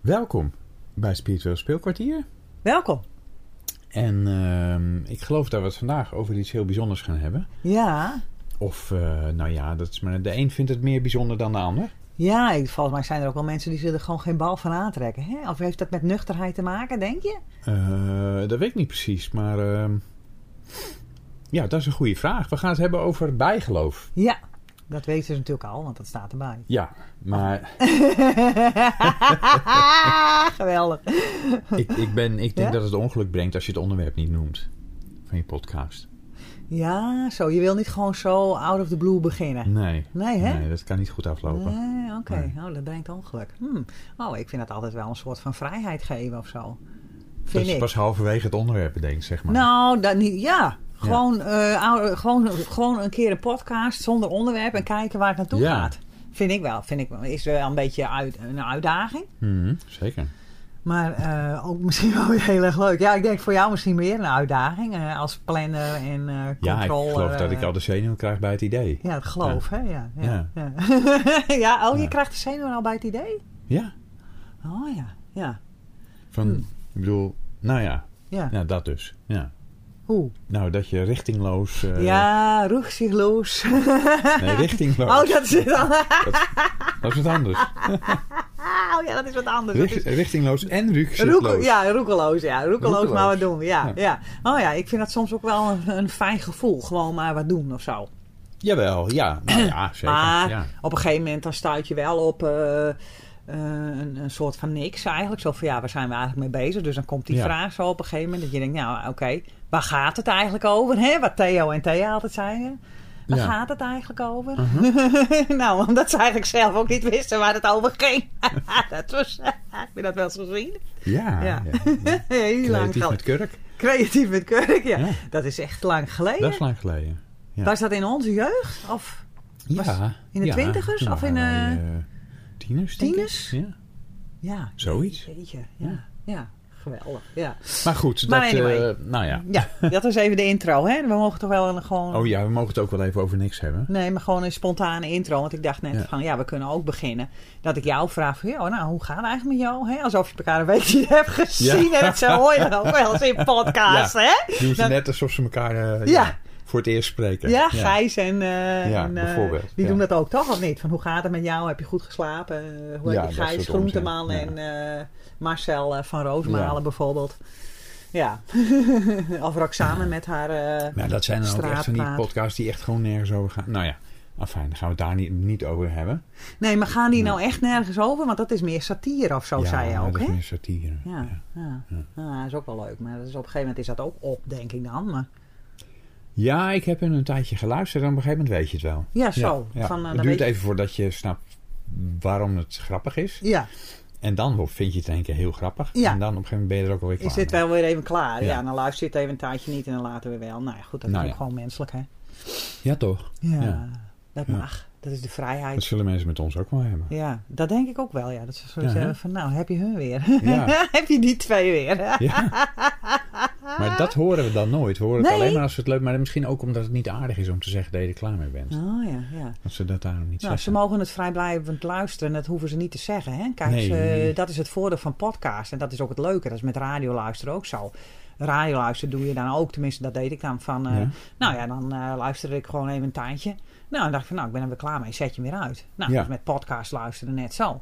Welkom bij Spiritueel Speelkwartier. Welkom. En ehm, ik geloof dat we het vandaag over iets heel bijzonders gaan hebben. Ja, Of, eh, nou ja, dat is maar, de een vindt het meer bijzonder dan de ander. ja ik, volgens mij zijn er ook wel mensen die zullen er gewoon geen bal van aantrekken. Hè? Of heeft dat met nuchterheid te maken, denk je? Eh, dat weet ik niet precies, maar ehm, ja, dat is een goede vraag. We gaan het hebben over bijgeloof. Ja, dat weten ze natuurlijk al, want dat staat erbij. Ja, maar Geweldig. ik, ik, ben, ik denk Oh. Ja? dat het ongeluk brengt als je het onderwerp niet noemt van je podcast. Ja, zo. Je wil niet gewoon zo out of the blue beginnen. Nee, Nee, hè? nee dat kan niet goed aflopen. Nee, oké. Nee. Oh, dat brengt ongeluk. Hmm. Oh, ik vind dat altijd wel een soort van vrijheid geven of zo. dat Vind is ik. pas halverwege het onderwerp bedenkt, zeg maar. Nou, dat niet. Ja. Gewoon, eh, oude- gewoon, gewoon een keer een podcast zonder onderwerp en kijken waar het naartoe Ja. gaat. Vind ik wel. Vind ik wel. Is wel een beetje uit, een uitdaging. Mhm, zeker. Maar eh, ook misschien wel weer heel erg leuk. Ja, ik denk voor jou misschien meer een uitdaging eh, als planner en eh Ja, ik controller. geloof dat ik eh. al de zenuwen krijg bij het idee. Ja, het geloof, hè? Ja, ja, Ja. ja. ja. oh, je Ja. krijgt de zenuwen al bij het idee? Ja, Oh ja, ja, van, ik bedoel, nou ja, Hmm. ja. ja, dat dus. Ja. Hoe? Nou, dat je richtingloos... eh, Oh. Ja, roegzichtloos. Nee, richtingloos. Oh, dat is het al. Dat is wat anders. Oh ja, dat is wat anders. Dat Richt- is- richtingloos en Roekel, rukzichtloos. ja, roekeloos, ja. Roekeloos, Roekeloos. maar wat doen. Ja, Ja. ja. Oh ja, ik vind dat soms ook wel een, een fijn gevoel. Gewoon maar wat doen of zo. Jawel, ja. Nou Ah. ja, zeker. maar Ja. op een gegeven moment dan stuit je wel op eh, eh, een, een soort van niks eigenlijk. Zo van ja, waar zijn we eigenlijk mee bezig? Dus dan komt die Ja. vraag zo op een gegeven moment. Dat je denkt, nou oké, waar gaat het eigenlijk over? Hè? Wat Theo en Thea altijd zeiden. Waar Ja. Mhm. gaat het eigenlijk over? nou, omdat ze eigenlijk zelf ook niet wisten waar het over ging. dat was, heb je dat wel eens gezien? Ja, ja. Ja. Heel lang Relatief geleden. met kurk. Creatief met kurk, ja. Ja. Dat is echt lang geleden. Dat is lang geleden. ja. Was dat in onze jeugd? Of Ja. in de ja, twintigers toen of in, waren wij, eh, tieners, denk ik. tieners? Ja, ja, zoiets. jeetje. Ja. Ja, ja. geweldig. Ja. Maar goed, Maar dat... anyway. eh, nou ja. ja, dat was even de intro, hè? We mogen toch wel een gewoon. Oh ja, we mogen het ook wel even over niks hebben. Nee, maar gewoon een spontane intro. Want ik dacht net Ja. van, ja, we kunnen ook beginnen. Dat ik jou vraag van, joh, nou, hoe gaat het eigenlijk met jou? Hè? Alsof je elkaar een beetje hebt gezien. Ja. En het zo hoor je dat ook wel eens in podcasts, Ja. hè? Doen ze Dan- net alsof ze elkaar eh, Ja. ja, voor het eerst spreken. Ja, Gijs en, eh, Ja, en, eh, bijvoorbeeld, die ja. doen dat ook toch of niet? Van hoe gaat het met jou? Heb je goed geslapen? Eh, hoe Ja, heb je dat Gijs soort onzin, Groenteman ja. en eh, Marcel eh, van Roosmalen Ja. bijvoorbeeld? Ja, of Roxane met haar... eh, Maar dat zijn dan ook echt van die Straatpraat. podcasts die echt gewoon nergens over gaan. Nou ja, afijn, dan gaan we het daar niet, niet over hebben. Nee, maar gaan die nou echt nergens over? Want dat is meer satire of zo, ja, zei je ook, dat is hè? meer satire. Ja, ja. Ja, dat is ook wel leuk. Maar dat is op een gegeven moment is dat ook op, denk ik dan. Maar Ja, ik heb hem een tijdje geluisterd en op een gegeven moment weet je het wel. ja, zo. Ja, ja. Van, eh, het dan duurt weet je- even voordat je snapt waarom het grappig is. Ja, En dan vind je het in één keer heel grappig. Ja. En dan op een gegeven moment ben je er ook alweer klaar is dit mee. wel weer even klaar? Ja, Ja. dan luister je het even een tijdje niet en dan later weer wel. Nou ja, goed, dat Nou is ook ja. gewoon menselijk, hè? Ja, toch? Ja, Ja. dat Ja. mag. Dat is de Dat vrijheid. zullen mensen met ons ook wel hebben. Ja, dat denk ik ook wel. Ja. Dat ze zoiets Ja, hè? hebben van, nou, heb je hun weer. Ja. heb je die twee weer. Ja. Maar dat horen we dan nooit. We horen het Nee. alleen maar als we het leuk... Maar misschien ook omdat het niet aardig is om te zeggen dat je er klaar mee bent. Oh ja, ja. Dat ze dat daarom niet Nou, ze zeggen. mogen het vrijblijvend luisteren. Dat hoeven ze niet te zeggen. Hè? Kijk, Nee. ze- dat is het voordeel van podcast. En dat is ook het leuke. Dat is met radio luisteren ook zo. Radio luisteren doe je dan ook. Tenminste, dat deed ik dan van... eh, Ja. Nou ja, dan eh, luisterde ik gewoon even een tijdje. Nou, dan dacht ik van... Nou, ik ben er weer klaar mee. Zet je hem weer uit. Nou, Ja. dat is met podcast luisteren net zo.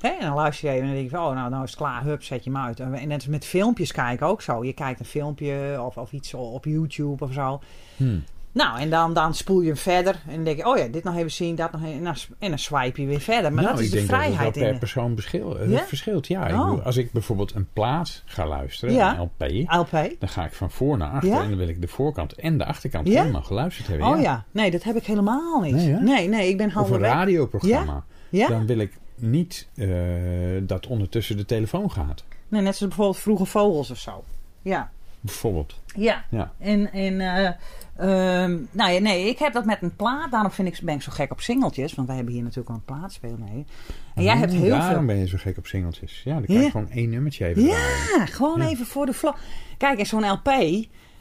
Hè? En dan luister je even en dan denk je van... Oh, nou, nou is het klaar. Hup, zet je hem uit. En net als met filmpjes kijken ook zo. Je kijkt een filmpje of, of iets op YouTube of zo. Hmm. Nou, en dan, dan spoel je hem verder. En dan denk je, oh ja, dit nog even zien, dat nog even. En dan, s- en dan swipe je weer verder. Maar nou, dat is ik de denk dat vrijheid het wel per in persoon verschil, eh, Ja? verschilt. Ja, ik Oh. bedoel, als ik bijvoorbeeld een plaat ga luisteren, Ja. een LP, de LP. dan ga ik van voor naar achter Ja? en dan wil ik de voorkant en de achterkant Ja? helemaal geluisterd hebben. Oh ja, nee, dat heb ik helemaal niet. Nee, Nee, hè? nee, ik ben Of een halverwege. radioprogramma. Ja? Dan wil ik niet eh, dat ondertussen de telefoon gaat. Nee, net zoals bijvoorbeeld Vroege Vogels of zo. Ja. Bijvoorbeeld. Ja. Ja. En, en eh, ehm, nou ja, nee, ik heb dat met een plaat. Daarom vind ik, ben ik zo gek op singeltjes. Want wij hebben hier natuurlijk al een plaatspeel mee. En jij hebt Oh, heel daarom veel ben je zo gek op singeltjes. Ja, dan kan je Ja. gewoon één nummertje even draaien. Ja, gewoon Ja. even voor de vlog. Kijk, en zo'n LP.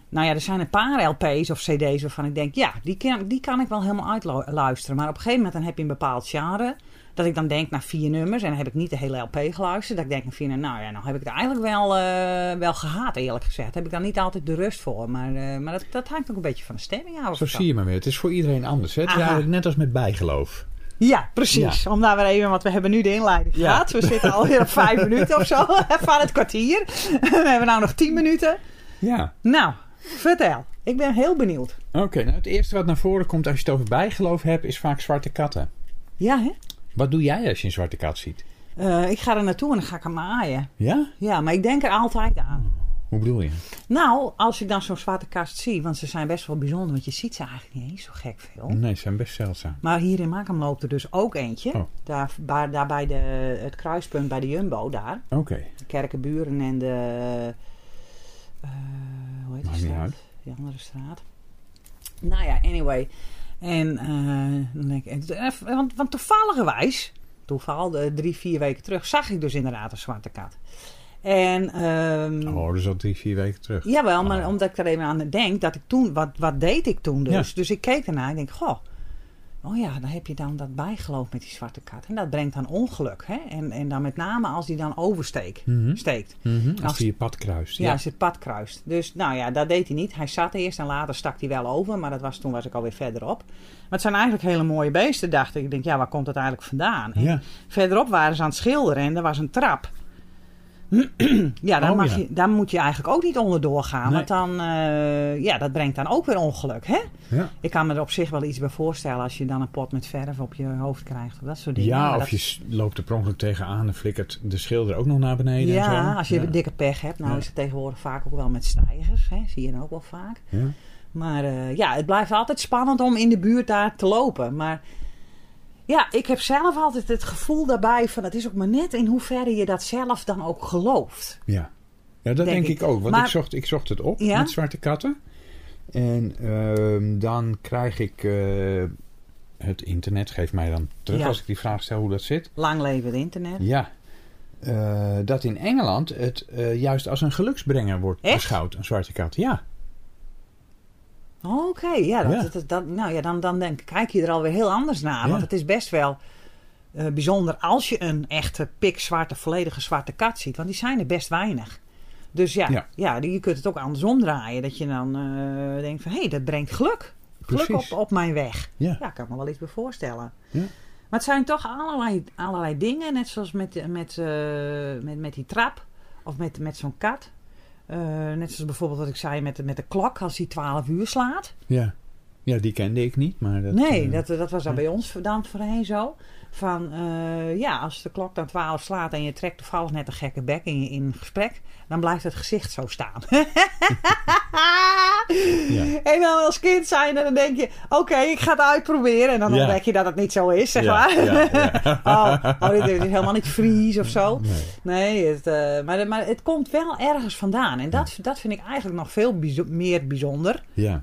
Nou ja, er zijn een paar LP's of CD's waarvan ik denk, ja, die kan, die kan ik wel helemaal uitluisteren. Maar op een gegeven moment dan heb je een bepaald genre. Dat ik dan denk naar vier nummers en dan heb ik niet de hele LP geluisterd. Dat ik denk naar vier nummers, nou ja, nou heb ik het eigenlijk wel, eh, wel gehaat eerlijk gezegd. Heb ik daar niet altijd de rust voor. Maar, eh, maar dat, dat hangt ook een beetje van de stemming af. of Zo zie je maar weer. Het is voor iedereen anders. Hè? Het is Aha. eigenlijk net als met bijgeloof. Ja, precies. Om daar weer even, want we hebben nu de inleiding Ja. gehad. We zitten alweer op vijf minuten of zo van het kwartier. We hebben nou nog tien minuten. Ja. Nou, vertel. Ik ben heel benieuwd. Oké, nou het eerste wat naar voren komt als je het over bijgeloof hebt, is vaak zwarte katten. Ja, hè? Wat doe jij als je een zwarte kat ziet? Eh, ik ga er naartoe en dan ga ik hem aaien. Ja? Ja, maar ik denk er altijd aan. Hoe bedoel je? Nou, als ik dan zo'n zwarte kast zie, want ze zijn best wel bijzonder, want je ziet ze eigenlijk niet eens zo gek veel. Nee, ze zijn best zeldzaam. Maar hier in Makam loopt er dus ook eentje. Oh. Daar, bij, daar bij de, het kruispunt bij de Jumbo, daar. Oké. De Kerkenburen en de. eh, hoe heet Maakt die niet straat? uit. Die andere straat. Nou ja, anyway. En eh, dan denk ik. eh, Want, want toevalligerwijs, toeval, eh, drie, vier weken terug, zag ik dus inderdaad een zwarte kat. En. ehm, Oh, dat is al drie, vier weken terug. Jawel, maar Oh. omdat ik er even aan denk, dat ik toen, wat, wat deed ik toen dus? Ja. Dus ik keek ernaar en ik denk, goh, oh ja, dan heb je dan dat bijgeloof met die zwarte kat. En dat brengt dan ongeluk, hè? En, en dan met name als die dan oversteekt. Mhm. steekt. Mhm, Als Als- die je pad kruist. Ja, als het pad kruist. Dus nou ja, dat deed hij niet. Hij zat eerst en later stak hij wel over. Maar dat was, toen was ik alweer verderop. Maar het zijn eigenlijk hele mooie beesten, dacht ik. Ik denk, ja, waar komt dat eigenlijk vandaan? En Ja. Verderop waren ze aan het schilderen en er was een trap. ja, daar, Oh, mag ja. Je, daar moet je eigenlijk ook niet onderdoor gaan. Nee. Want dan, eh, ja, dat brengt dan ook weer ongeluk, hè? ja. Ik kan me er op zich wel iets bij voorstellen als je dan een pot met verf op je hoofd krijgt. Of dat soort dingen. Ja, Maar of dat- je s- loopt er per ongeluk tegenaan en flikkert de schilder ook nog naar beneden. en Ja, zo. als je ja. dikke pech hebt. Nou Ja. is het tegenwoordig vaak ook wel met stijgers. Hè? Zie je dan ook wel vaak. Ja. Maar eh, ja, het blijft altijd spannend om in de buurt daar te lopen. Maar ja, ik heb zelf altijd het gevoel daarbij van... het is ook maar net in hoeverre je dat zelf dan ook gelooft. Ja, ja dat denk, Denk ik. ik. ook. Want Maar- ik, zocht, ik zocht het op Ja? met zwarte katten. En ehm, dan krijg ik... eh, het internet geeft mij dan terug Ja. als ik die vraag stel hoe dat zit. Lang leven het internet. Ja. Eh, dat in Engeland het eh, juist als een geluksbrenger wordt Echt? beschouwd, een zwarte kat. Ja, Oké, ja, dat, Ja. dat- dat- nou ja, dan, dan denk, ik, kijk je er alweer heel anders naar. Ja. Want het is best wel eh, bijzonder als je een echte pikzwarte, volledige zwarte kat ziet. Want die zijn er best weinig. Dus ja, Ja. ja. die- je kunt het ook andersom draaien. Dat je dan eh, denkt van, hé, hey, dat brengt geluk. Geluk Precies. op, op mijn weg. ja. Ja, ik kan me wel iets bij voorstellen. Ja. Maar het zijn toch allerlei, allerlei dingen, net zoals met, met, eh, met, met die trap of met, met zo'n kat. Eh, net zoals bijvoorbeeld wat ik zei met, de- met de klok als die 12 uur slaat. ja. Ja, die kende ik niet, maar... Dat, nee, eh, dat, dat was dan ja. bij ons dan voorheen zo. Van eh, ja, als de klok dan 12 slaat en je trekt toevallig net een gekke bek in, je- in een gesprek, dan blijft het gezicht zo staan. Ja. En dan als kind zijn en dan denk je, oké, ik ga het uitproberen. En dan Ja. ontdek je dat het niet zo is, zeg Ja, maar. ja, ja. oh, oh, dit, dit is helemaal niet Fries of zo. Nee. Nee, het, eh, maar, maar het komt wel ergens vandaan. En dat, dat vind ik eigenlijk nog veel bijzo- meer bijzonder Ja,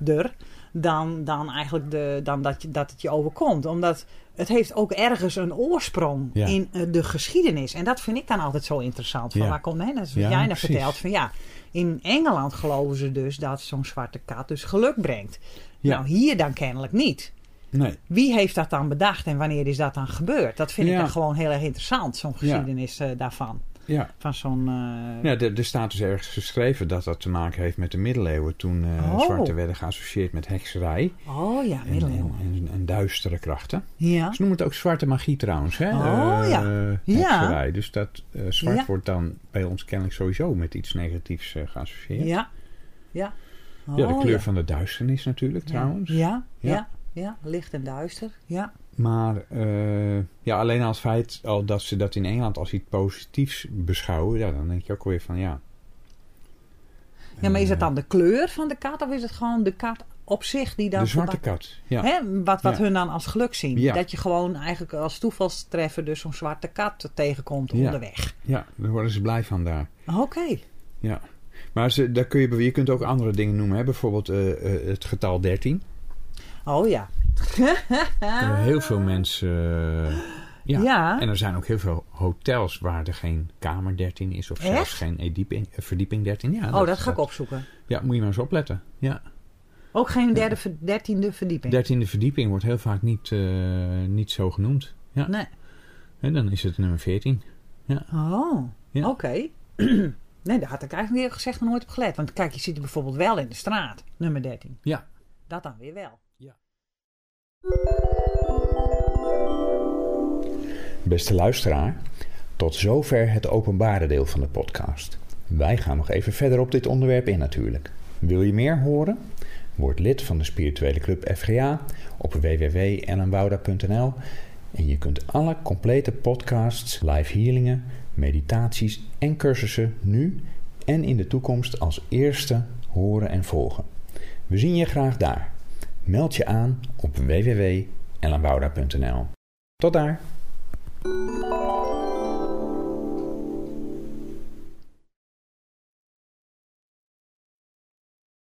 dan, dan eigenlijk de, dan dat, je, dat het je overkomt. Omdat het heeft ook ergens een oorsprong Ja. in eh, de geschiedenis. En dat vind ik dan altijd zo interessant. Van Ja. waar komt hè? Dat is wat Ja, jij nou precies. vertelt. Van ja, in Engeland geloven ze dus dat zo'n zwarte kat dus geluk brengt. Ja. Nou, hier dan kennelijk niet. nee. Wie heeft dat dan bedacht en wanneer is dat dan gebeurd? Dat vind Ja. ik dan gewoon heel erg interessant, zo'n Ja. geschiedenis eh, daarvan. Ja, Van zo'n... eh, Ja, er, er staat dus ergens geschreven dat dat te maken heeft met de middeleeuwen. Toen eh, Oh. zwarte werden geassocieerd met hekserij Oh ja, en, eh, en, middeleeuwen. en, en duistere krachten. Ja. Ze noemen het ook zwarte magie trouwens. Hè? Oh, Eh, ja. Hekserij. Dus dat eh, zwart Ja. wordt dan bij ons kennelijk sowieso met iets negatiefs eh, geassocieerd. Ja, Ja. Ja. de Oh, kleur van de duisternis natuurlijk trouwens. Ja, Ja. ja, ja, licht en duister. Ja. Maar eh, ja, alleen al het feit al dat ze dat in Engeland als iets positiefs beschouwen, ja, dan denk je ook weer van ja. ja, maar is dat Eh, dan de kleur van de kat of is het gewoon de kat op zich die dan... De zwarte wat, kat. Ja. Hè, wat, wat Ja. hun dan als geluk zien. Ja. Dat je gewoon eigenlijk als toevalstreffer dus zo'n zwarte kat tegenkomt Ja. onderweg. ja, daar worden ze blij van daar. Oké. Ja, maar ze, daar kun je, je kunt ook andere dingen noemen. Hè? Bijvoorbeeld eh, eh, het getal 13. Oh ja. Er Ah. hebben heel veel mensen... eh, ja. Ja. En er zijn ook heel veel hotels waar er geen kamer 13 is. Of zelfs Echt? geen edieping- eh, verdieping 13. Ja, Oh, dat ga ik opzoeken. Ja, moet je maar eens opletten. Ja. Ook geen derde, ver- dertiende verdieping. 13e verdieping wordt heel vaak niet, eh, niet zo genoemd. Nee. En dan is het nummer 14. Oh, Ja. oké. nee, daar had ik eigenlijk eerlijk gezegd nog nooit op gelet. Want kijk, je ziet het bijvoorbeeld wel in de straat, nummer 13. Ja. Dat dan weer wel. Beste luisteraar, tot zover het openbare deel van de podcast. Wij gaan nog even verder op dit onderwerp in natuurlijk. Wil je meer horen? Word lid van de spirituele club FGA op www.ellenwouda.nl en je kunt alle complete podcasts, live healingen, meditaties en cursussen nu en in de toekomst als eerste horen en volgen. We zien je graag daar. Meld je aan op www.ellenwouda.nl. Tot daar!